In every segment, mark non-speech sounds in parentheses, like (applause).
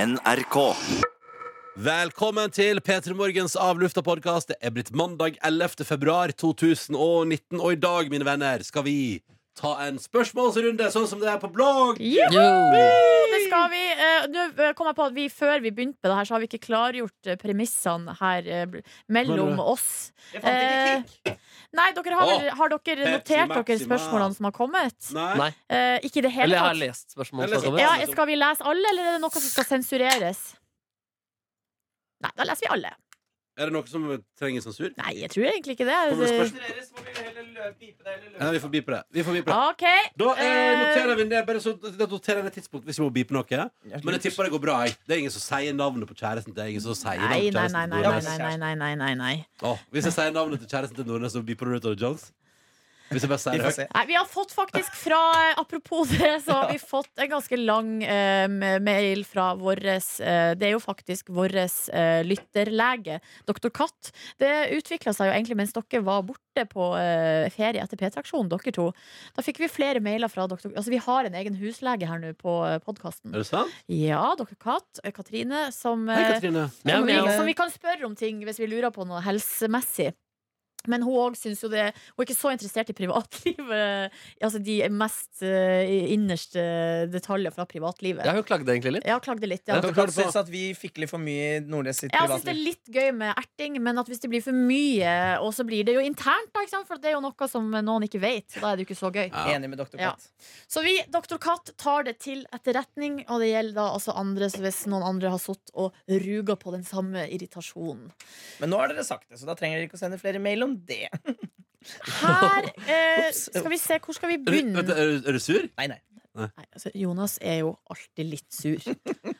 NRK. Velkommen til P3 Morgens avlufta-podkast. Det er blitt mandag 11. februar 2019, og i dag, mine venner, skal vi ta en spørsmålsrunde, sånn som det er på blogg. Det skal vi. Eh, Nå eh, kom jeg på at vi Før vi begynte med det her, så har vi ikke klargjort eh, premissene her eh, bl- mellom Mener du? oss. Eh, nei, dere har, vel, Å, har dere Pepsi notert dere Maxima. spørsmålene som har kommet? Nei. Nei. Eh, ikke i det hele Eller jeg har tatt? lest spørsmål. Eller fra så- dere. Ja, skal vi lese alle, eller er det noe som skal sensureres? Nei, da leser vi alle. Er det noe som trenger sensur? Nei, jeg tror egentlig ikke det. Kommer det spørsmål? Dere, så må vi heller lø- pipe det, eller løpe Nei, vi får bipe det. Vi får bipe det. OK. Da eh, Eh, noterer vi det. Bare så da noterer jeg ned tidspunkt hvis vi må bipe noe. Men jeg tipper det går bra. Jeg. Det er ingen som sier navnet på kjæresten. Det er ingen som sier Nei, navnet på nei, nei, kjæresten til nei, nei, Nordnes. nei, nei, nei, nei, nei. Å, hvis jeg sier navnet til kjæresten til Nordnes, så biper du ut av Jones? Hvis jeg bare Vi sier får det. se. Nei, vi har fått faktisk fra eh, Apropos det, så har vi fått en ganske lang eh, mail fra våres eh, Det er jo faktisk våres eh, lytterlege, Dr. Katt. Det utvikla seg jo egentlig mens dere var borte på eh, ferie etter P-traksjonen, dere to. Da fikk vi flere mailer fra doktor Altså, vi har en egen huslege her nå på eh, podkasten. Er det sant? Ja, Dr. Katt, eh, Katrine, som Hei, eh, Katrine. Ja, som, men vi, jeg- som vi kan spørre om ting hvis vi lurer på noe helsemessig. Men hun òg syns jo det Hun er ikke så interessert i privatlivet. Altså de mest eh, innerste detaljer fra privatlivet. Ja, hun klagde egentlig litt. Ja, klagde litt, ja. Dere kan synes at vi fikler for mye i Nordnes sitt Jeg syns det er privatliv. litt gøy med erting, men at hvis det blir for mye, og så blir det jo internt, da, ikke sant? for det er jo noe som noen ikke vet. Da er det jo ikke så gøy. Ja. Enig med doktor Ja. Katt. Så vi, Doktor Katt, tar det til etterretning, og det gjelder da altså andre, så hvis noen andre har sittet og ruga på den samme irritasjonen. Men nå har dere sagt det, så da trenger dere ikke å sende flere mail om det. Her eh, Ops. skal vi se, hvor skal vi Er du, begynne? er du- er du sur? Nei, nei. Nei, altså, Jonas er jo alltid litt sur.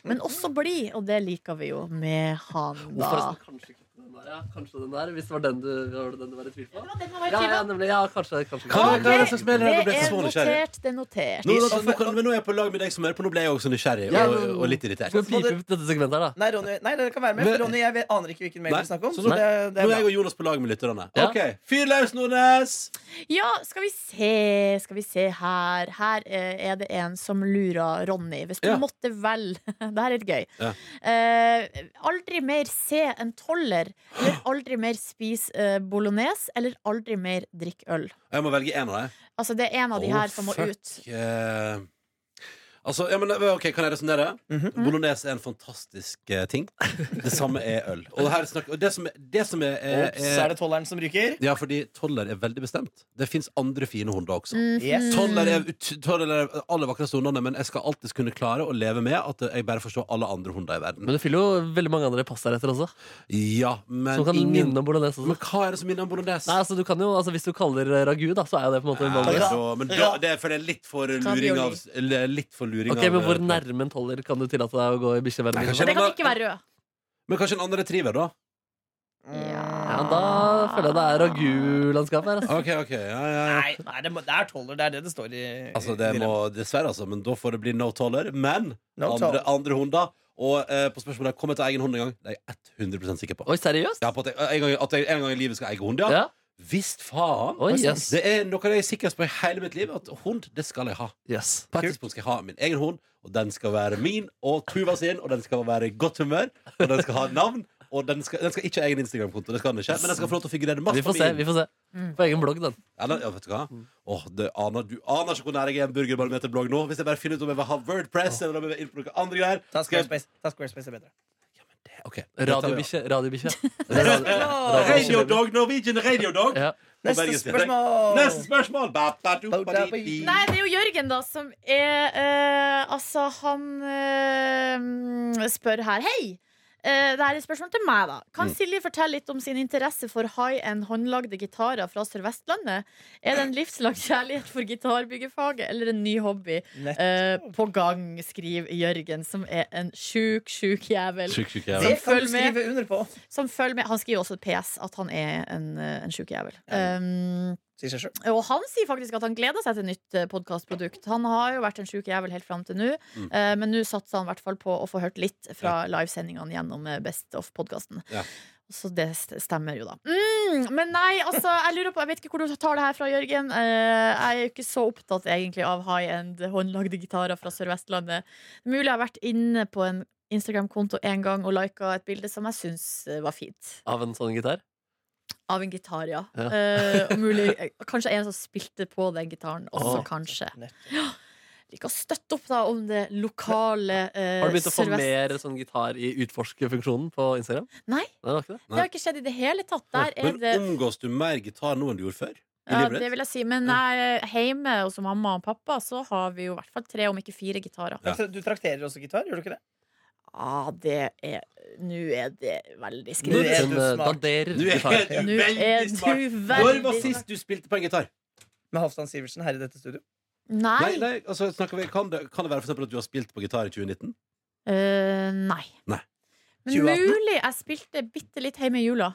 Men også blid, og det liker vi jo med han, da. Hvorfor er det sånn, kanskje ikke den der? Ja, kanskje den der, hvis det var den du, var det den du var i tvil på? Ja, den har jeg Ja, ja, tvilt på. nemlig. Ja, kanskje, kanskje. Hva, Ok, hva er det slags mail er det du Det ble er så nysgjerrig? notert, det er notert. Nå, nå, nå, kan- men nå er jeg på lag med deg som hører på, nå ble jeg også nysgjerrig Ja, og, men- og litt irritert. Skal vi pipe ut dette segmentet her, da? Nei, Ronny, nei dere kan være med. Men- For Ronny, jeg vet, aner ikke hvilken mail Nei, dere snakker om. så Så nå- det, det Nå er jeg er bra. og Jonas på lag med lytterne. Ja. Ok, Fyr løs, Nordnes! Ja, skal vi se, skal vi se her. Her eh, er det en som lurer Ronny. Hvis du Ja. måtte vel (laughs) Det her er litt gøy. Ja. Eh, aldri mer se en toller. Eller aldri mer spis eh, bolognese. Eller aldri mer drikk øl. Jeg må velge én av dem. Altså, det er en av de Å, her som må fuck. ut. Eh, altså, ja, men, ok, Kan jeg resonnere? Mhm. Bolognese er en fantastisk eh, ting. Det samme er øl. Og, her snakker, og det som, er- det som er, er, Ops, er det tolleren som ryker? Ja, fordi toller er veldig bestemt. Det fins andre fine hunder også. Mhm. Yes. Toller er, ut- toller er de aller vakreste hundene, men jeg skal alltid kunne klare å leve med at jeg bare forstår alle andre hunder i verden. Men det fyller jo veldig mange andre pass der etter også. Ja, men Som kan ingen minne om bolognese. Men Også. hva er det som minner om bolognese? Nei, altså, du kan jo, altså, hvis du kaller eh, ragu, da, så er jo det på en måte en Ja, vanlig det er bolognese. så, men da, det er for det er litt for luring av eller Litt for luring Ok, Men av eh, hvor nærme en toller kan du tillate deg å gå i Nei, bikkjeverdenen? Men kanskje- det liksom? kan ikke være rød. Men kanskje en annen retriever, da? Ja, da føler jeg det er ragu-landskap her. Altså. Ok, ok, ja, ja, ja. Nei, nei det, må, det er toller. Det er det det står i Altså, det må dessverre, altså. Men da får det bli no toller. Men No andre, toll. andre hunder Og eh, på spørsmålet kommer jeg til å eie en hund en gang, det er jeg 100 sikker på. Oi, seriøst? Ja, på at, jeg, en gang, at jeg en gang i livet skal eie hund, ja. Ja. Visst faen! Altså, Oi, yes. Det er noe av det jeg er sikrest på i hele mitt liv, at hund, det skal jeg ha. Yes. På et tidspunkt skal jeg ha min egen hund, og den skal være min og Tuva sin, og den skal være i godt humør, og den skal ha navn, og den skal, den skal ikke ha egen Instagram-konto, det skal den ikke, men den skal få lov til å figurere masse (laughs) Vi får se. på min. vi får se På egen blogg, den. Eller, ja, vet du hva? Åh, det aner, du aner ikke hvor nær jeg er en burgerbarometerblogg nå, hvis jeg bare finner ut om jeg vil ha Wordpress, eller om jeg vil inn på noen andre greier. Ta Skal jeg- Squarespace. Ta Squarespace er bedre. Ok, det tar vi av. Radiobikkje. Radiobikkje. (laughs) Radio Dog, Ah, Norwegian Radio Dog. Ja. Neste Bergens- spørsmål! Neste spørsmål! Ba, ba, du, ba, di, di. Nei, det er jo Jørgen da som er eh, Altså, han eh, spør her Hei! Eh, det her er et spørsmål til meg, da. Kan Silje fortelle litt om sin interesse for high-end håndlagde gitarer fra Sør-Vestlandet? Er det en livslang kjærlighet for gitarbyggefaget eller en ny hobby Nett. eh, på gang, skriver Jørgen, som er en sjuk, sjuk jævel. Sjuk, sjuk, jævel. Det kan følg du med. skrive under på. Som følger med. Han skriver også PS at han er en, eh, en sjuk jævel. Ja. Um, Sier seg selv. og han sier faktisk at han gleder seg til nytt podkastprodukt. Han har jo vært en sjuk jævel helt fram til nå, Mm. eh, men nå satser han i hvert fall på å få hørt litt fra livesendingene gjennom eh, Best of-podkasten. Ja. Så det st- stemmer jo, da. Mm, men nei, altså, jeg lurer på Jeg vet ikke hvor du tar det her fra, Jørgen. Eh, jeg er jo ikke så opptatt egentlig av high end håndlagde gitarer fra Sør-Vestlandet. Mulig jeg har vært inne på en Instagram-konto en gang og lika et bilde som jeg syns eh, var fint. Av en sånn gitar? Av en gitar, ja. Ja. Eh, og (laughs) mulig, eh, kanskje en som spilte på den gitaren også, Åh. kanskje. Nettopp. Liker å støtte opp da om det lokale eh, Har du begynt å få sørvest- mer sånn gitar i utforskerfunksjonen på Instagram? Nei. det var ikke det. Det har ikke skjedd i det hele tatt. Der er Men det omgås du mer gitar nå enn du gjorde før? I ja, livet det ditt? vil jeg si. Men eh, hjemme hos mamma og pappa så har vi jo i hvert fall tre, om ikke fire, gitarer. Ja. Du trakterer også gitar, gjør du ikke det? Ah, det er Nå er det veldig Nå er skrivende. Sånn, du eh, smart. daderer Nå er gitar. du Nå er veldig du smart. Når var veldig sist du spilte på en gitar? Med Halvdan Sivertsen her i dette studio. Nei. Nei, nei, altså, snakker vi, kan, det, kan det være for eksempel at du har spilt på gitar i 2019? Eh, nei. Nei. Men 2018? mulig jeg spilte bitte litt hjemme i jula.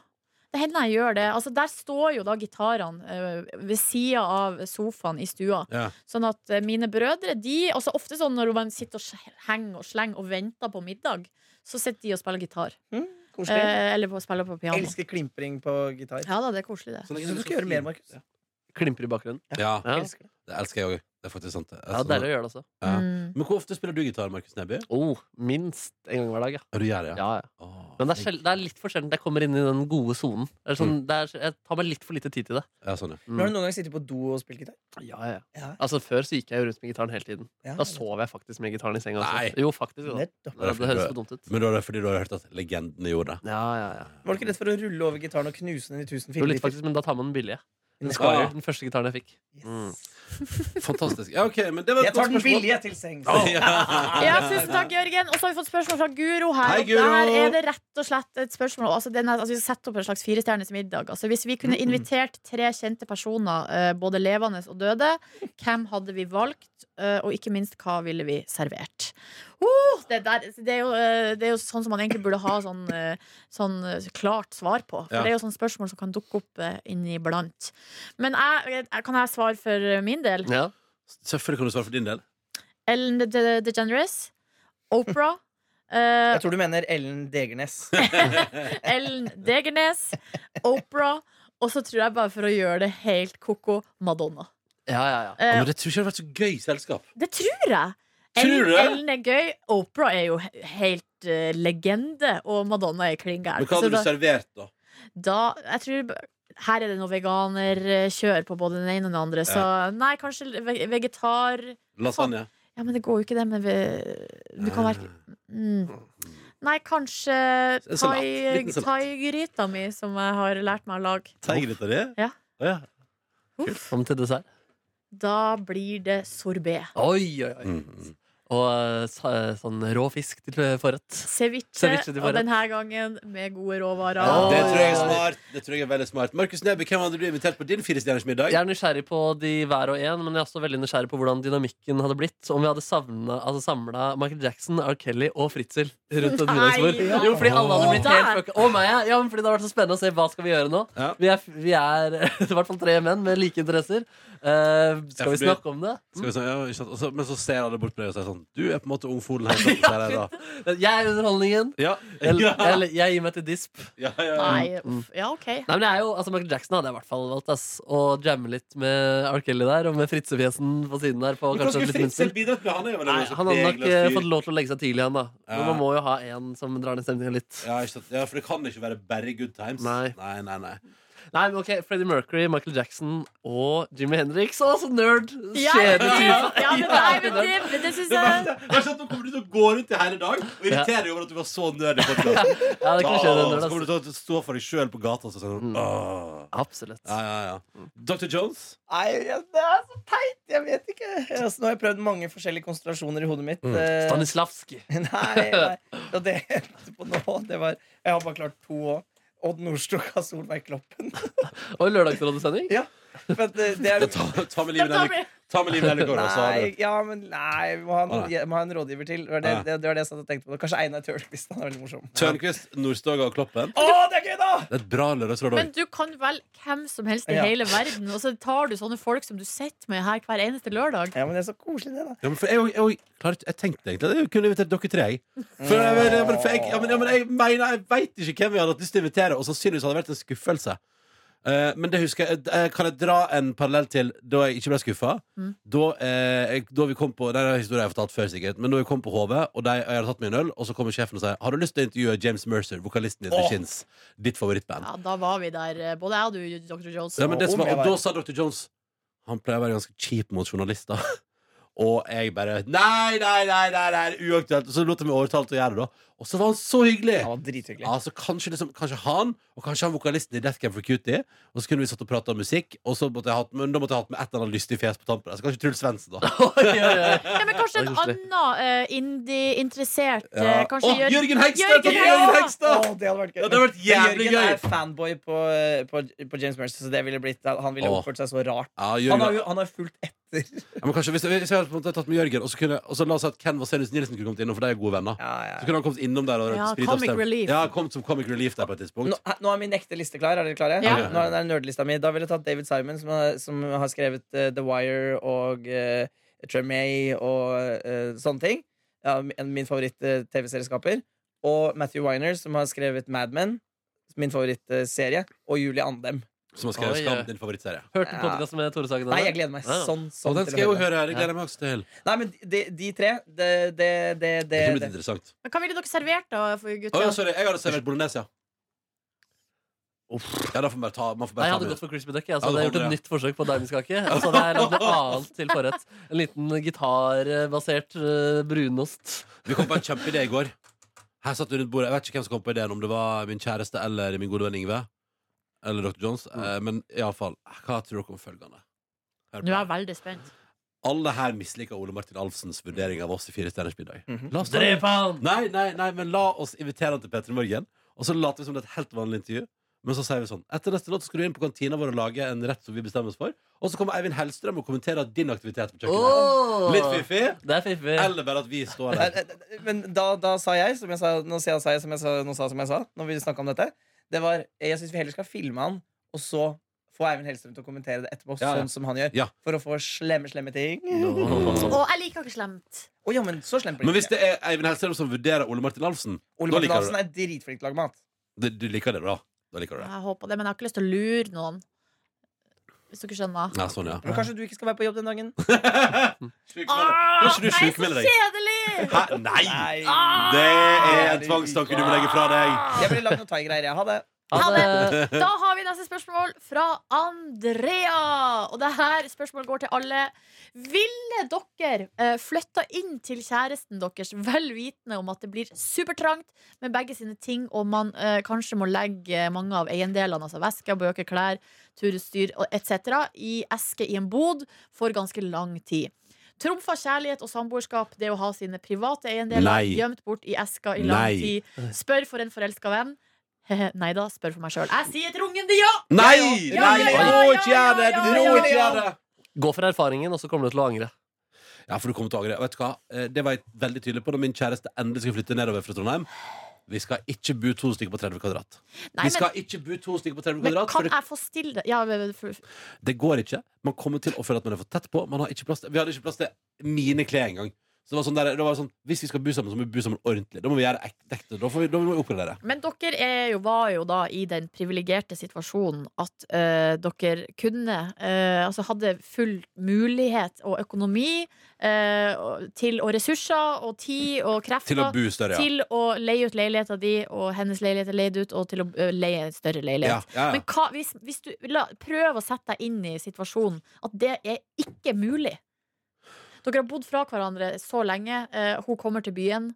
Det hender jeg gjør det. Altså, der står jo da gitarene eh, ved sida av sofaen i stua. Ja. Sånn at eh, mine brødre de altså Ofte sånn når man sitter og sj- henger og slenger og venter på middag, så sitter de og spiller gitar. Mm, koselig. Eh, eller på, spiller på piano. Elsker klimpring på gitar. Ja da, det er koselig, det. Sånn Så du skal gjøre mer, Markus. Klimper i bakgrunnen. Ja, Ja, Elsker det. det elsker jeg òg. Det er faktisk sant. det. ja Altså, Deilig å gjøre det også. Ja. Mm. Men hvor ofte spiller du gitar, Markus Neby? Oh, minst en gang hver dag, ja. Ja, du gjør det, ja. ja, ja. Åh, Men det er, sjel- det er litt for sjelden jeg kommer inn i den gode sonen. Det er Sånn, det er- jeg tar meg litt for lite tid til det. ja, sånn, ja. Mm. Men har du noen gang sittet på do og spilt gitar? Ja, ja. Ja. Altså Før så gikk jeg jo rundt med gitaren hele tiden. Ja, Da sov jeg faktisk med gitaren i senga. Nei. Også. Jo, faktisk jo da. nettopp. Det, det høres for dumt ut. Men da er det fordi du har hørt at legendene gjorde det? Ja, ja, ja. Var du ikke redd for å rulle over gitaren og knuse den i tusen Jo, litt fillebiter? faktisk, men da tar man den billige. Den, Nettopp. Squire, den første gitaren jeg fikk. Mm. Yes. Fantastisk. Ja, ok, men det var et Jeg tar godt den spørsmål. billige til sengs. Ja. Ja, tusen takk, Jørgen. Og så har vi fått spørsmål fra Guro her. Hei, og Guro. Der er det rett og slett et spørsmål. Altså, den er, altså, vi skal sette opp en slags firestjerners middag. Altså, hvis vi kunne invitert tre kjente personer, eh, både levende og døde, hvem hadde vi valgt? Eh, og ikke minst, hva ville vi servert? Oh, det, der, det, er jo, eh, det er jo sånn som man egentlig burde ha sånn, eh, sånn eh, klart svar på. For Ja. det er jo sånne spørsmål som kan dukke opp eh, inniblant. Men jeg, jeg- kan jeg svare for min del? Ja. Selvfølgelig kan du svare for din del. Ellen De- De- DeGeneres, (laughs) Opera eh, Jeg tror du mener Ellen Degernes. (laughs) Ellen Degernes, Opera og så tror jeg bare for å gjøre det helt koko Madonna. ja, ja, ja. Ja, Eh, men det tror ikke det hadde vært så gøy selskap. det tror jeg! Tror du Ellen, det? Ellen er gøy, Opera er jo he- helt eh, legende, og Madonna er klin Men hva gæren. Så hadde du da- servert, da? da- jeg tror b- Her er det noe veganerkjør på både den ene og den andre, så nei, kanskje ve- vegetar Lasagne? Ja, men det går jo ikke, det, men vi, du kan være Mm. Nei, kanskje En salat. thai- Liten salat. thai-gryta mi, som jeg har lært meg å lage. Teigryta di? Ja. Å, ja. Uff. Som til dessert. Da blir det sorbé. Oi, oi, oi. Mm, mm. Og eh, sa- eh, sånn rå fisk til eh, forrett. Ceviche, Ceviche til og forrett. denne gangen med gode råvarer. Ja, Det tror jeg er ja, ja. smart. Det tror jeg er veldig smart Markus Neby, hvem hadde du invitert på din firestjerners middag? Jeg er nysgjerrig på de hver og en, men jeg er også veldig nysgjerrig på hvordan dynamikken hadde blitt om vi hadde savna, altså samla Michael Jackson, R. Kelly og Fritzel rundt et Nei, middagsbord. ja. Jo, fordi alle hadde blitt helt Der. fucka. Å, meg, ja. ja, men fordi det har vært så spennende å se hva skal vi gjøre nå. Ja. Vi er, vi er (laughs) i hvert fall tre menn med like interesser. Eh, skal vi Ja, fordi- snakke om det? Skal vi si, ja, ikke sant? Og så- men så ser alle bort på deg og sier sånn Du er på en måte ungfolen (laughs) her. sant? Der er det da. Jeg er underholdningen. Ja. Eller, Ja. eller jeg gir meg til disp. Ja, ja, ja. Nei, uff. Ja, OK. Nei, men jeg er jo, altså Michael Jackson hadde jeg i hvert fall valgt. ass Og jamme litt med R. Kelly der, og med Fritzefjesen på siden der. På, Men Hvordan kanskje litt skulle munter. Fritzel bidratt med han? er jo Nei, en han hadde nok regløs eh, fyr. fått lov til å legge seg tidlig, han da. Men Ja. man må jo ha en som drar ned stemningen litt. ja, ikke sant? ja, For det kan ikke være bare good times. Nei. nei, nei, nei. Nei, men ok, Freddie Mercury, Michael Jackson og Jimmy Henrik. Å, så nerd! Ja, Kjedelig ja, type. ja, men nei, men det, men det Det syns jeg verste det verste er at nå kommer du til å gå rundt i hele dag og irritere deg over at du var så nerd. i podcasten. (laughs) Ja, det kunne skjedd en Åh, nerd, Så kommer ass. du til å stå for deg sjøl på gata og så sånn Mm. åh. Absolutt. Ja, ja, ja. Dr. Jones? Nei, jeg- det er så teit! Jeg vet ikke. Altså, nå har jeg prøvd mange forskjellige konstellasjoner i hodet mitt. Mm. Eh, Stanislavski. (laughs) Nei, nei. Og det jeg tenkte på nå, det var Jeg har bare klart to òg. Odd Nordstoga og Solveig Kloppen. Og Lørdagsrådesending. Men eh, det, det er Ta, ta med livet Da Nelly blir- Ta med livet Nelly Gård, så har Nei, du ja, men nei, vi må ha en, Å, nei. jeg må ha en rådgiver til. Det var det, Ja. det, det var det jeg satt og tenkte på. Kanskje Einar Tørnquist. Han er veldig morsom. Tørnquist, Nordstoga og Kloppen. Å, det er gøy, da! Det er et bra lørdagsråd òg. Men du kan vel hvem som helst i Ja. hele verden, og så tar du sånne folk som du sitter med her hver eneste lørdag. Ja, men det er så koselig, det, da. Ja, men for jeg, jeg, jeg, klarer ikke- jeg tenkte egentlig at jeg kunne invitert dere tre. jeg. For jeg, jeg, jeg, for jeg, ja, men, ja, men jeg mener, jeg veit ikke hvem vi hadde hatt lyst til å invitere, og sannsynligvis hadde det vært en skuffelse. Eh, men det husker jeg, eh, kan jeg dra en parallell til da jeg ikke ble skuffa? Mm. Da, eh, jeg- da vi kom på Den historien har jeg fortalt før, sikkert. Men da vi kom på HV, og de, jeg hadde tatt meg en øl, og så kommer sjefen og sier Har du lyst til å intervjue James Mercer, vokalisten i The Åh. Shins? Ditt favorittband. Ja, da var vi der, eh, både jeg og du, Dr. Jones. Ja, men det som Om var, jeg og var- da sa Dr. Jones Han pleier å være ganske kjip mot journalister. (laughs) Og jeg bare Nei, nei, nei, nei, nei uaktuelt. Og så lot jeg meg overtale til å gjøre det, da. Og så var han så hyggelig. Han var drithyggelig. Altså, kanskje, liksom, kanskje han, og kanskje han vokalisten i Death Cab for Cutie. Og så kunne vi satt og prata om musikk, og så måtte jeg hatt, men da måtte jeg hatt med et eller annet lystig fjes på tampen. Altså, kanskje Truls Svendsen, (laughs) da. Oi, oi, oi. Ja, men kanskje en Det er koselig. annen eh, indie-interessert eh, Ja. Kanskje Å, Jør- Jørgen Hegstad! Jørgen Jørgen, Jørgen Hegstad! Hegstad! Åh, det hadde vært gøy. Ja, det hadde vært jævlig Men Jørgen gøy. er fanboy på, eh, på, på James Mercer, så det ville blitt Han ville Åh. oppført seg så rart. Ja, Han Jørgen, har jo han har fulgt etter. ja, men kanskje, hvis, jeg- hvis jeg hadde på en måte tatt med Jørgen, og så, kunne, og så la oss si at Ken Vasenius Nilsen kunne kommet innom, for de er gode venner. Ja, Så ja. kunne han kommet innom der og Ja, spritt comic stemmen. relief. Ja, kom som comic relief der på et tidspunkt. Nå, nå er min ekte liste klar. Er dere klare? Ja. Nå er den der nerdlista mi. Da ville jeg tatt David Simon, som har, som har skrevet eh, The Wire og uh, Tremay og eh, sånne ting. Ja, min min favoritt-TV-serieskaper. og Matthew Winer, som har skrevet Mad Men. Min favorittserie. Og Julie Andem. Som har skrevet Oi, Skam, ja. din favorittserie. Hørte du podkasten med Tore Sagen? Nei, jeg gleder meg Ja. sånn, Og sånn den til å skal jeg jo høre. høre her. Det Ja. gleder jeg meg også til. Nei, men de, de tre Det, det, det, Det kan det, bli det. litt interessant. Men Hva ville dere servert, da, for Å gutta? ja, sorry. Jeg hadde servert bolognese, ja. Uff. Ja, da får man bare ta, man får Nei, bare jeg ta hadde med gått det. for crispy duck. Jeg, Ja, så det hadde jeg gjort et holder, ja. nytt forsøk på diamondskake. Og så hadde jeg lagd noe annet til forrett. En liten gitarbasert eh, brunost. Vi kom på en kjempeidé i går. Her satt vi rundt bordet. Jeg vet ikke hvem som kom på ideen, om det var min kjæreste eller min gode venn Ingve. Eller Dr. Jones. Mm. Eh, men iallfall, hva tror dere om følgende? Hør på. Nå er jeg veldig spent. Alle her misliker Ole Martin Alfsens vurdering av oss i Fire stjerners middag. Mhm. La oss ta- Drep han! Nei, nei, nei, men la oss invitere han til Petter i morgen Og så later vi som det er et helt vanlig intervju Men så sier vi sånn Etter neste låt skal du inn på kantina vår og lage en rett som vi bestemmer oss for Og så kommer Eivind Hellstrøm og kommenterer din aktivitet på kjøkkenet Åh! Litt fiffig Det er fiffig. Eller bare at vi står Nei, der nei, nei, Men da, da sa jeg, som jeg sa, nå sier jeg, sa jeg som jeg sa, nå sa jeg som jeg sa, når vi snakket om dette, det var Jeg syns vi heller skal filme han, og så få Eivind Hellstrøm til å kommentere det etterpå, Ja, ja. sånn som han gjør, Ja. for å få slemme, slemme ting. Åh. Å, jeg liker ikke slemt. Å ja, men så slem blir Men det hvis ikke. det er Eivind Hellstrøm som vurderer Ole Martin Alfsen Ole da Martin liker Hansen er dritflink til å lage mat. Du, du liker det da Da liker du det Jeg håper det, men jeg har ikke lyst til å lure noen. Hvis dere skjønner. Nei, sånn ja Men kanskje du ikke skal være på jobb den dagen? Ah, Kanskje du nei, så sykemelder deg kjedelig! Hæ? Nei Nei. Det er en tvangstanke du må legge fra deg Jeg ville lagd noen thaigreier, jeg. Ha det. Ha det. Da har vi neste spørsmål fra Andrea. Og det her spørsmålet går til alle. Ville dere eh, flytta inn til kjæresten deres vel vitende om at det blir supertrangt med begge sine ting, og man eh, kanskje må legge mange av eiendelene, altså vesker, bøker, klær, turutstyr etc., i eske i en bod for ganske lang tid? Trumfa kjærlighet og samboerskap, det å ha sine private eiendeler Nei. gjemt bort i eska i lang Nei. tid. Spør for en forelska venn. Nei da, spør for meg sjøl. Jeg sier et rungende ja! Nei, Ja, nei, ja, du ja, må ja, ikke gjøre det Du ja, må ja, ikke ja. gjøre det Gå for erfaringen, og så kommer du til å angre. Ja, for du kommer til å angre. Vet du hva? Eh, Det var jeg veldig tydelig på da min kjæreste endelig skulle flytte nedover fra Trondheim. Vi skal ikke bo to stykker på 30 kvadrat. vi Nei, men, skal ikke bo to stykker på 30 men kvadrat, kan for det, jeg få stille det? Ja, men- for- det går ikke. Man kommer til å føle at man er for tett på. Man har ikke plass til, vi hadde ikke plass til mine klær engang. Så det var sånn der, det var sånn, hvis vi skal bo sammen, så må vi bo sammen ordentlig. Da må vi gjøre ek- ekte. Da, får vi, da må vi oppgradere. Men dere er jo, var jo da i den privilegerte situasjonen at eh, dere kunne eh, Altså hadde full mulighet og økonomi eh, og- til, og ressurser og tid og krefter Til å bo større, ja. til å leie ut leiligheta di, og hennes leilighet er leid ut, og til å eh, leie en større leilighet. ja, ja, Men ja. hva, hvis, hvis du la, Prøv å sette deg inn i situasjonen At det er ikke mulig Dere har bodd fra hverandre så lenge eh, Hun kommer til byen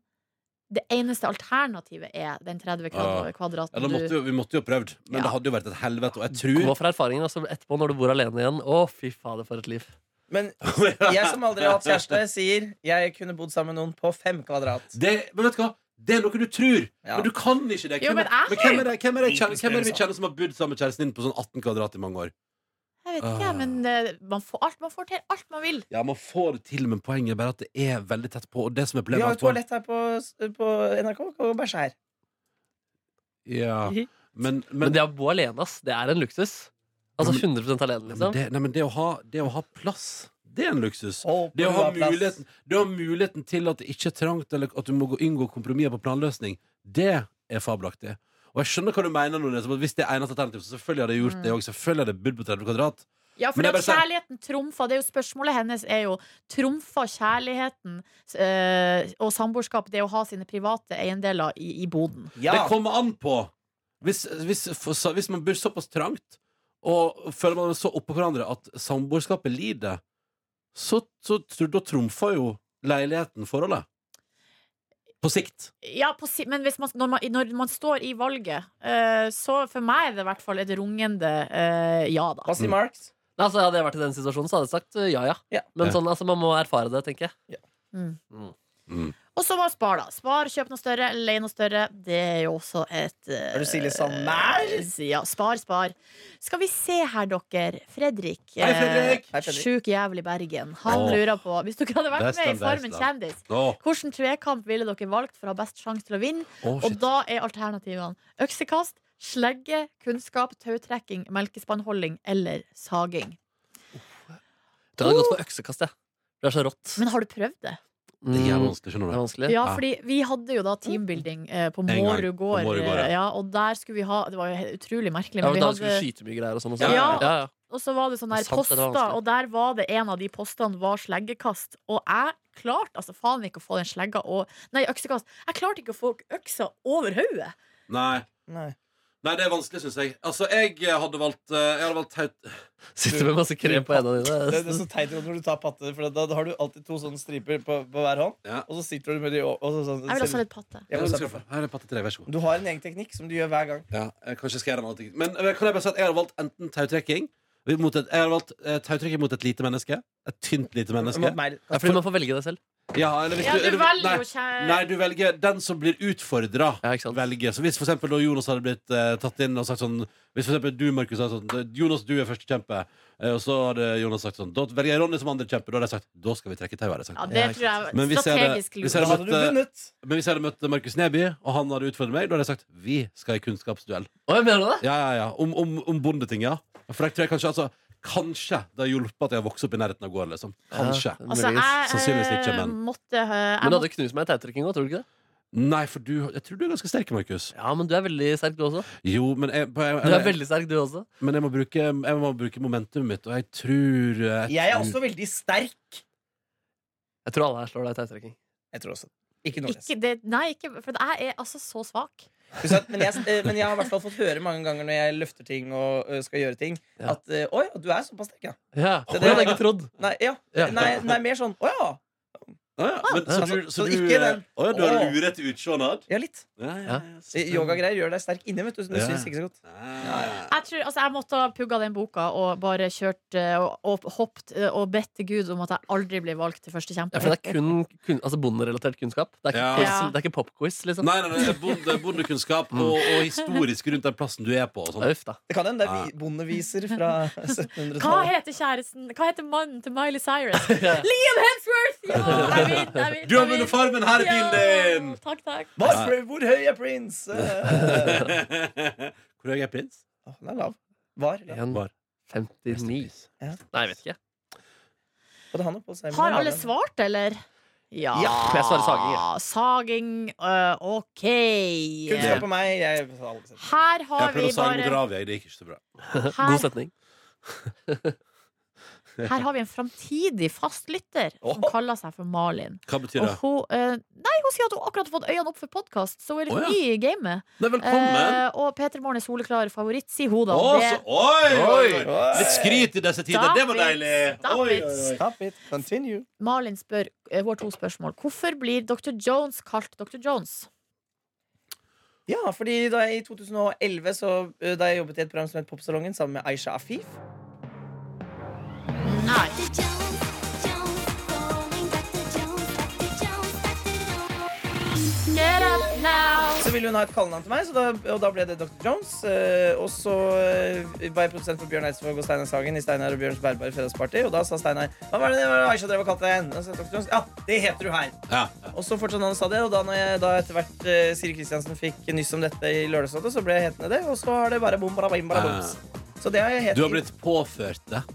Det eneste alternativet er Den 30 kvadrat, Ah. Ja. kvadraten Ja, da måtte du jo, vi måtte jo ha prøvd, men Ja. det hadde jo vært et helvete. Og jeg Gå (laughs) tror for erfaringen, og så etterpå, når du bor alene igjen. Å, fy fader, for et liv. Men jeg som aldri har hatt kjæreste, sier jeg kunne bodd sammen med noen på fem kvadrat. (laughs) det, Men vet du hva? Det er noe du tror, Ja. men du kan ikke det. Jo, men jeg- men hvem er det, hvem er det, jeg kjenner- Liten hvem er det vi spøkelse. kjenner som har bodd sammen med kjæresten din på sånn 18 kvadrat i mange år? Jeg vet ikke, Ah. men eh, man, får alt, man får til alt man vil Ja, man får det til, men poenget er bare at det er veldig tett på. Og det som er Vi problemet har er jo at man- toalett her på, på NRK. Kan vi bæsje her. (laughs) ja. Mhm. Men, men, Men det å bo alene, ass, det er en luksus. Altså 100 nei, alene, men, liksom. det, nei, men det, å ha, det å ha plass, det er en luksus. Håper Det å, du ha har plass. muligheten, det å ha muligheten til at det ikke er trangt, eller at du må gå- inngå kompromisser på planløsning, det er fabelaktig. Og jeg skjønner hva du mener nå, Nes, om at hvis det er eneste alternativ, så selvfølgelig hadde jeg Mm. gjort det òg. Selvfølgelig hadde jeg budd på 30 kvadrat. Ja, for Men jeg at bare sier- kjærligheten trumfa Det er jo spørsmålet hennes er jo Trumfa kjærligheten eh, og samboerskap det å ha sine private eiendeler i, i boden? Ja. Det kommer an på. Hvis, hvis, for- så- hvis man bor såpass trangt, og føler man så oppå hverandre at samboerskapet lider, så, så, tror- da trumfer jo leiligheten forholdet. På sikt. Ja, på, si- men hvis man, når, man, når man står i valget, eh, så for meg er det i hvert fall et rungende eh, ja, da. Hva sier Marks? Nei, altså, hadde jeg vært i den situasjonen, så hadde jeg sagt uh, ja, ja. Ja. Men Ja. sånn, altså, man må erfare det, tenker jeg. Mm. Mm. Mm. Og så var spar, da. Spar, kjøp noe større, leie noe større. Det er jo også et eh, Er du liksom? Silje Sandberg? Ja. Spar, spar. Skal vi se her, dere. Fredrik. eh, Hei, Fredrik! Hei, Fredrik. Sjuk jævel i Bergen. Han Åh. lurer på Hvis dere hadde Der vært med i stemmer, Farmen der kjendis, Å, hvilken trekamp ville dere valgt for å ha best sjanse til å vinne? å, Og Oh, shit. da er alternativene øksekast, slegge, kunnskap, tautrekking, melkespannholding eller saging. Jeg tror jeg hadde gått for øksekast, jeg. Det er så rått. Men har du prøvd det? Det er jævlig Mm. vanskelig, skjønner Det du. er vanskelig. Ja, fordi vi hadde jo da teambuilding eh, på gang, Mårud på gård. Mårud gård, ja. eh, Ja, og der skulle vi ha Det var jo he- utrolig merkelig. Ja, Men men vi da skulle hadde, vi skyte mye greier og sånn. Ja, Også. ja, ja, ja. og så var det sånne Det er der sant, det poster, er vanskelig. og der var det en av de postene var sleggekast. Og jeg klarte altså faen ikke å få den slegga og Nei, øksekast. Jeg klarte ikke å få øksa over hodet. Nei. Nei. Nei, det er vanskelig, syns jeg. Altså, jeg hadde valgt eh, Jeg hadde valgt taut... Sitter med masse krem på hendene Det, det dine. er sånn- så teit når du tar patter, for da, da har du alltid to sånne striper på, på hver hånd. Ja. Og så sitter du med de og, og så, sånn, Jeg vil også ha litt patte. Ja, men så- Her er patte til deg, vær så god. Du har en egen teknikk som du gjør hver gang. Ja, eh, kanskje skal jeg gjøre en annen ting Men eh, kan jeg bare si at jeg har valgt enten tautrekking mot et, Jeg har valgt eh, tautrekking mot et lite menneske Et tynt lite menneske Mot meg. Ja, fordi man får velge det selv. ja, eller hvis Ja, du eller- velger nei, jo kjære nei, du velger den som blir utfordret Ja, ikke sant? Velger, så hvis for eksempel da Jonas hadde blitt eh, tatt inn og sagt sånn Hvis for eksempel du, Markus, hadde sånn Jonas, du er første kjempe Eh, Og så hadde Jonas sagt sånn Da velger jeg Ronny som andre kjempe Da hadde jeg sagt, da skal vi trekke tau hadde jeg sagt. Ja, det Ja, ikke tror jeg Men var hvis jeg hadde- strategisk hvis lurt. jeg Da hadde hadde du måttet- vunnet. Men hvis jeg hadde møtt Markus Neby Og han hadde utfordret meg Da hadde jeg sagt, vi skal i kunnskapsduell Oi, mener du det? Ja, ja, ja. Om, om, om bondeting, ja. For jeg tror jeg kanskje altså, Kanskje det har hjulpet at jeg har vokst opp i nærheten av gården. Liksom. Kanskje. Ja, Altså, muligens. jeg Sannsynligvis ikke, eh, men- måtte eh, jeg Men du måtte, hadde knust meg i tautrekking òg, tror du ikke det? Nei, for du Jeg tror du er ganske sterk, Markus. Ja, men du er veldig sterk, du også. Jo, men jeg, på- jeg, Du er jeg, veldig sterk, du også. men jeg må bruke, jeg må bruke momentumet mitt, og jeg tror jeg Jeg er tror- også veldig sterk. Jeg tror alle her slår deg i tautrekking. Jeg tror også Ikke Nordnes. ikke, det, Nei, ikke For jeg er altså så svak. Ikke sant? Men, jeg, eh, men jeg har i hvert fall fått høre mange ganger når jeg løfter ting og eh, skal gjøre ting, Ja. at eh, Oi, du er såpass sterk, ja. Ja, Det- det hadde jeg ikke trodd. Nei, ja. Ja. Nei, nei mer sånn Å ja. Å, ja. Men, så, du, så, Ah, altså, Så du, ikke den. Å, ja, du har Å. luret utseendet? Ja, litt. Ja, ja, Ja. ja, Eh, så- Yogagreier gjør deg sterk inni, vet du. Så du Ja. syns ikke så godt. Ja. Jeg, tror, altså, jeg måtte ha pugga den boka og bare kjørt eh, og, og hoppet eh, og bedt til Gud om at jeg aldri blir valgt til første Ja, kjempe. for det er kun, kun altså bonderelatert kunnskap. Det er ikke, Ja. quiz, det er ikke popquiz, liksom. Nei, nei, nei, bonde, bondekunnskap og, og historisk rundt den plassen du er på. Og (laughs) sånn. Uff, da. Det kan hende det Ja. er vi- bondeviser fra (laughs) Hva 1700-tallet. heter kjæresten Hva heter mannen til Miley Cyrus? (laughs) Ja. Liam Hemsworth! Ja, jeg vinner! jeg vinner, Du har jeg vunnet vinner. Farmen! Her er bilen din! (laughs) Ja, Takk, takk. Hva, Hvor høy er prins? Eh, Hvor høy er prins? Åh, Den er lav. Var. lav. En Var. 59. Ja. Nei, jeg vet ikke. Både han og Paul Simon Har er alle lav. svart, eller? Ja. Ja, jeg svarer saging, jeg. Saging, øh, OK. Kunnskap på meg. Jeg har aldri sett. Her har Jeg prøvde vi å sage mot bare Ravia, det gikk ikke så bra. (laughs) God her, setning. her har vi en framtidig fastlytter som Åh. kaller seg for Malin. Hva betyr Og det? hun, eh, nei, hun sier at hun akkurat har fått øynene opp for podkast, så hun er litt Å, ja. ny i gamet. Nei, velkommen! Eh, og Peter Morgen er soleklar favoritt, sier hun da. Å, Og så, det- oi, oi, Oi. oi! Litt skryt i disse tider, Stop det var it, deilig! stop Oi, it. oi, oi. Stop it. Continue. Malin spør eh, hun har to spørsmål. Hvorfor blir Dr. Jones kalt Dr. Jones? Ja, fordi da jeg i 2011 så, eh, Da jeg jobbet i et program som het Popsalongen sammen med Aisha Afif Nei. Get up now. Så ville hun ha et kallenavn til meg, så da, og da ble det Dr. Jones. eh, og så eh, var jeg produsent for Bjørn Eidsvåg og Steinar Sagen i Steinar og Bjørns bærbare fredagsparty. Og da sa Steinar Hva var det det var Aisha drev og kalte deg igjen? Og så sa jeg, Dr. Jones, ja, det heter du her. Ja. Og så fortsatte han å sa det, og da, når jeg, da etter hvert eh, Siri Kristiansen fikk nyss om dette i Lørdagsrådet, så ble jeg hetende det, og så har det bare bom, bara, bim, bara, boms. Så det har jeg het Du har i- blitt påført det.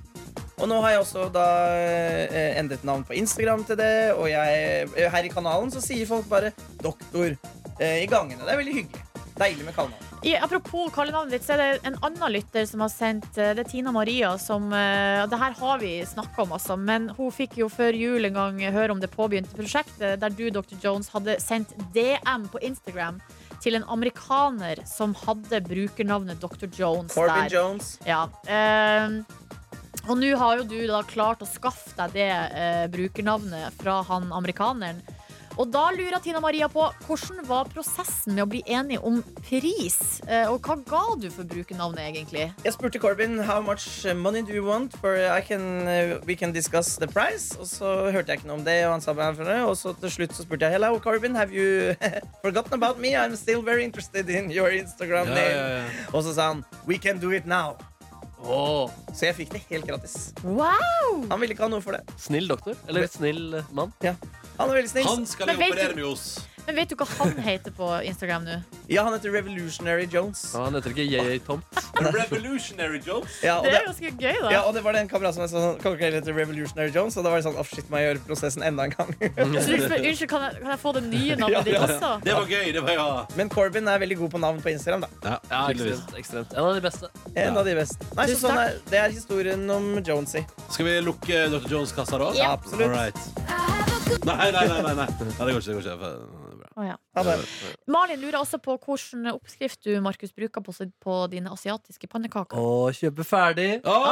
Og nå har jeg også da eh, endret navn på Instagram til det, og jeg, her i kanalen så sier folk bare doktor eh, i eh, gangene. Det er veldig hyggelig. Deilig med kallenavn. I, apropos kallenavnet ditt, så er det en annen lytter som har sendt eh, Det er Tina Maria som eh, Det her har vi snakka om, altså. Men hun fikk jo før jul en gang høre om det påbegynte prosjektet der du, Dr. Jones, hadde sendt DM på Instagram til en amerikaner som hadde brukernavnet Dr. Jones Corbin der. Jones. Ja. ehm, og nå har jo du da klart å skaffe deg det eh, brukernavnet fra han amerikaneren. Og da lurer Tina Maria på hvordan var prosessen med å bli enig om pris? Eh, og hva ga du for brukernavnet, egentlig? Jeg spurte Corbin how much uh, money do you want for uh, I can, we can discuss the price. Og så hørte jeg ikke noe om det, og han sa meg for det. Og så til slutt så spurte jeg hello, Corbin, have you (laughs) forgotten about me? I'm still very interested in your Instagram Ja, name. ja, ja. Og så sa han we can do it now. Åh, Så jeg fikk det helt gratis. Wow! Han ville ikke ha noe for det. snill doktor. Eller snill eh, mann. Han er veldig snill. Han skal vi Men vet operere du- med hos. Men vet du hva han heter på Instagram nå? Ja, han heter Revolutionary Jones. Ja, han heter ikke JJ Tom. Revolutionary Jones. Ja, og Det det, er ganske gøy, da. ja, og det var den kamerat som jeg sa sånn, kan ikke jeg hete Revolutionary Jones. Og da var det sånn, oh, shit, må jeg gjøre prosessen enda en gang. (laughs) Så du, spør- unnskyld, kan jeg, kan jeg få det nye Ja, navnet ditt ja, også? Det var gøy. Det var ja. Men Corbin er veldig god på navn på Instagram, da. Ja, Ja, tydeligvis. ekstremt, ekstremt. En av de beste. En Ja. av de beste. Nei, så Tusen sånn er, det er historien om Jonesy. Skal vi lukke Dr. Jones-kassa da? Ja, absolutt. All right. Nei, nei, nei, nei, nei. nei. Det går ikke. Det går ikke. Det er bra. Å, ja. Ha det. Malin lurer også på hvilken oppskrift du Markus, bruker på, på dine asiatiske pannekaker. Å, kjøpe ferdig. Jeg Åh!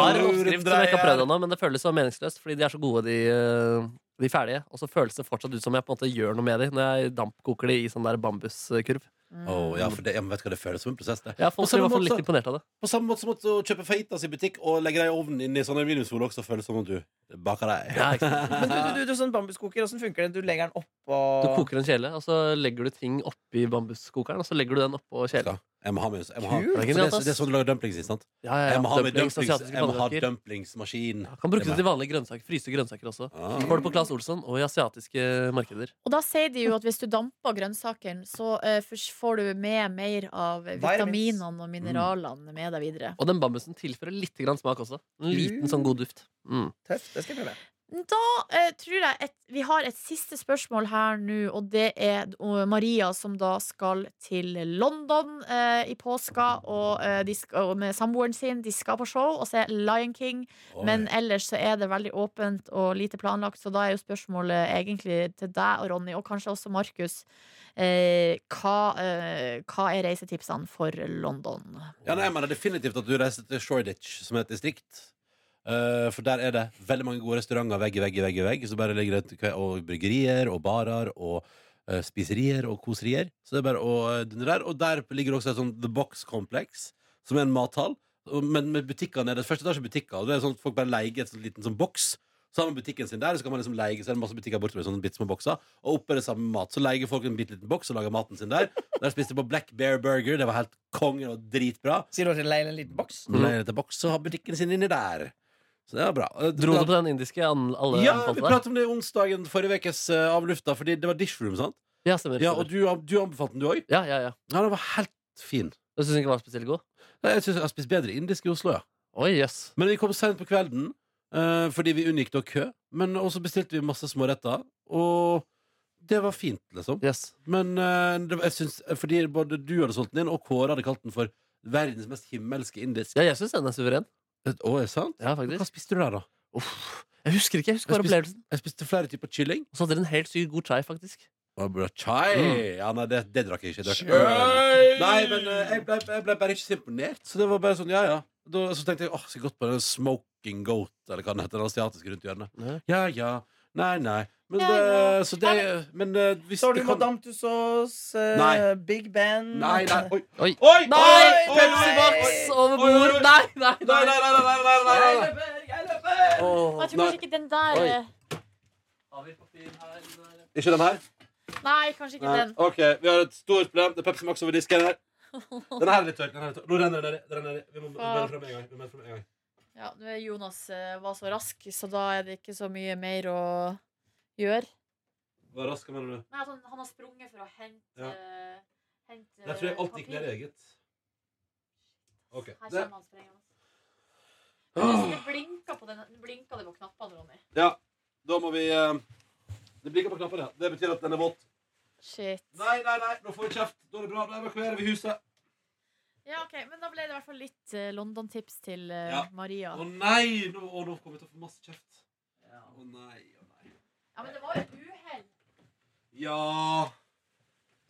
har en Ah! oppskrift som jeg ikke har prøvd ennå, men det føles så meningsløst, fordi de er så gode, de, eh, de ferdige. Og så føles det fortsatt ut som jeg på en måte gjør noe med de når jeg dampkoker de i sånn der bambuskurv. Åh, ja, for det, ja, men vet du hva, det føles som en prosess, det. Ja, folk På samme blir i hvert fall måte- litt imponert av det. På samme måte som at å kjøpe fajitas i butikk og legge deg i ovnen inni sånn aluminiumsfolie også føles som om du baker deg. Ja, ikke sant? Men du, du, du, du sånn bambuskoker, åssen funker det? Du legger den oppå Du koker en kjele, og så legger du ting oppi bambuskokeren, og så legger du den oppå kjelen. Skal. Jeg må ha med jeg må ha. Kult. Så det, er- det er sånn du lager dumplings, ikke sant? Ja, ja, ja. Jeg må ha med Dumplings, dumplings, liksom asiatiske jeg må ha pannekaker. dumplingsmaskin. Ja, Kan bruke Det er det til vanlige grønnsaker. Fryste grønnsaker også. Ah. Får det på Claes Olsson og i asiatiske markeder. Og da sier de jo at hvis du damper grønnsakene, så eh, først får du med mer av Vitamins. vitaminene og mineralene med deg videre. Og den bambusen tilfører litt grann smak også. En liten sånn god duft. Mm. Tøft. Det skal jeg prøve. Da eh, tror jeg et, vi har et siste spørsmål her nå, og det er eh, Maria som da skal til London eh, i påska og, eh, de skal, og med samboeren sin. De skal på show og se Lion King, Oi. men ellers så er det veldig åpent og lite planlagt, så da er jo spørsmålet egentlig til deg og Ronny, og kanskje også Markus. Eh, hva, eh, hva er reisetipsene for London? Ja, nei, jeg mener definitivt at du reiser til Shoreditch, som er et distrikt. Eh, for der er det veldig mange gode restauranter vegg i vegg i vegg. i vegg Så bare ligger det et- og bryggerier og barer og eh, spiserier og koserier. Så det er bare å dundre der. Og der ligger også et sånt The Box Complex, som er en mathall. Og- Men med butikker nede. Første etasje er butikker. Og det er sånn at folk bare leier et sånt liten sånn boks. Så har man butikken sin der, og så kan man liksom leie Så er det masse butikker bortover i sånne bitte små bokser. Og oppe er det samme mat. Så leier folk en bitte liten boks og lager maten sin der. Der spiste jeg på Black Bear Burger. Det var helt konge og dritbra. Sier du at jeg leier en liten boks? Mhm. Når jeg er tilbake, så har butikken sin inni der. Så det var bra. Eh, Dro du på den indiske an alle Ja, vi anbefalte deg? pratet om det onsdagen forrige ukes eh, avlufta, fordi det var dishroom, sant? Ja, stemmer. Ja, stemmer. og du, du anbefalte den, du òg? ja, ja, ja. Ja, den var helt fin. Jeg syns ikke den var spesielt god. Nei, Jeg synes jeg har spist bedre indisk i Oslo, ja. Oi, jøss. Men vi kom sent på kvelden, eh, fordi vi unngikk da kø. Men også bestilte vi masse småretter, og det var fint, liksom. Yes. Men eh, det, var- jeg synes, fordi både du hadde solgt den inn, og Kåre hadde kalt den for verdens mest himmelske indisk. Ja, jeg syns den er suveren. Å, er det sant? Ja, Hva faktisk. spiste du der, da? Uff. Jeg husker ikke. jeg husker Jeg bare spiste- opplevelsen Jeg spiste flere typer kylling. Og så hadde dere en helt sykt god chai, faktisk. Og bra chai Ja, nei, det, det drakk jeg ikke. Jeg drakk øl. Nei, men eh, jeg ble, jeg ble bare ikke så imponert. Så det var bare sånn, ja, ja. Da, så tenkte jeg åh, skal jeg gått på den smoking goat, eller hva den heter, den asiatiske rundt hjørnet. Ja. Ja, ja. Nei, nei. Men, Ja, det, ja. Så det, men eh, hvis Så har du det kan Madame Tussauds, eh, Nei. Big Ben Nei, nei. Oi! Oi! Oi! Nei! Oi! Pepsi Max over bord! Oi, oi, oi. Nei, nei, Nei, nei, nei! nei, nei, nei, nei, nei, nei. Åh. Jeg tror kanskje ikke den der Oi. eh, Ikke den her? Nei, kanskje ikke Nei. den. OK, vi har et stort problem. Det er Pepsi Max over disken her. Den her er litt tørk. Den her er litt tørk. Nå renner det nedi. det renner nedi. Vi må vi må bære frem en gang. Vi må bære frem en gang. Ja, nå er Jonas eh, var så rask, så da er det ikke så mye mer å gjøre. Hva rask mener du? Nei, altså, han, har sprunget for å hente, eh, Ja. Der tror jeg alt gikk ned i eget. Ok. Her Det, kommer han sprengende. Det, (gasps) det blinka på den, den blinka det på knappene, Ronny. ja, da må vi eh, Det blinker på knappene. ja. Det betyr at den er våt. Shit. Nei, nei, nei, nå får vi kjeft. Da er det bra. Da evakuerer vi huset. Ja, ok, Men da ble det i hvert fall litt eh, London-tips til eh, Ja. Maria. Å nei! Nå, å, nå kommer vi til å få masse kjeft. Ja. Å nei, å nei. Ja, Men det var jo et uhell. Ja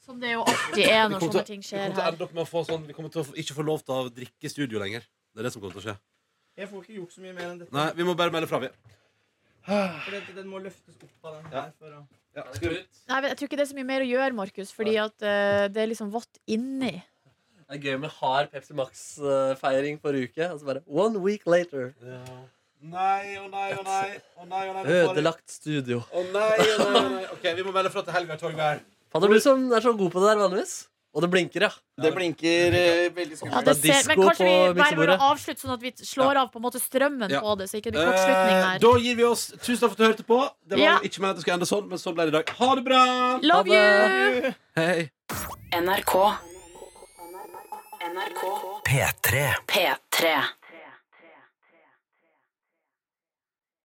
Som det jo alltid Vi er når kommer sånne til- ting Vi skjer kommer til å her. ende opp med å få sånn Vi kommer til å ikke få lov til å drikke i studio lenger. Det er det som kommer til å skje. Jeg får ikke gjort så mye mer enn dette. Nei, vi må bare melde fra, vi. For den, den må løftes opp av den Ja. her. For å... Ja, skal vi- Nei, men Jeg tror ikke det er så mye mer å gjøre, Markus, fordi at eh, det er liksom vått inni. Det er gøy med hard Pepsi Max-feiring forrige uke. Og så bare One week later. Nei, å nei, å nei. Å nei, å nei. vi får- Ødelagt studio. Å nei, å nei, å nei. OK, vi må melde fra til Helga Torgvær. Fader, du som er så god på det der vanligvis. Og det blinker, ja. Det blinker eh, Ja, veldig skummelt. det det er ser, men disco kanskje vi på bare burde miksebordet. avslutte, sånn at vi slår av på en måte strømmen Ja. på det. Så ikke det blir kortslutning Eh, her. Da gir vi oss. Tusen takk for at du hørte på. Det var Ja. ikke meningen at det skulle ende sånn, men sånn ble det i dag. Ha det bra! Love Ha you! Hei. NRK. NRK. P3. P3.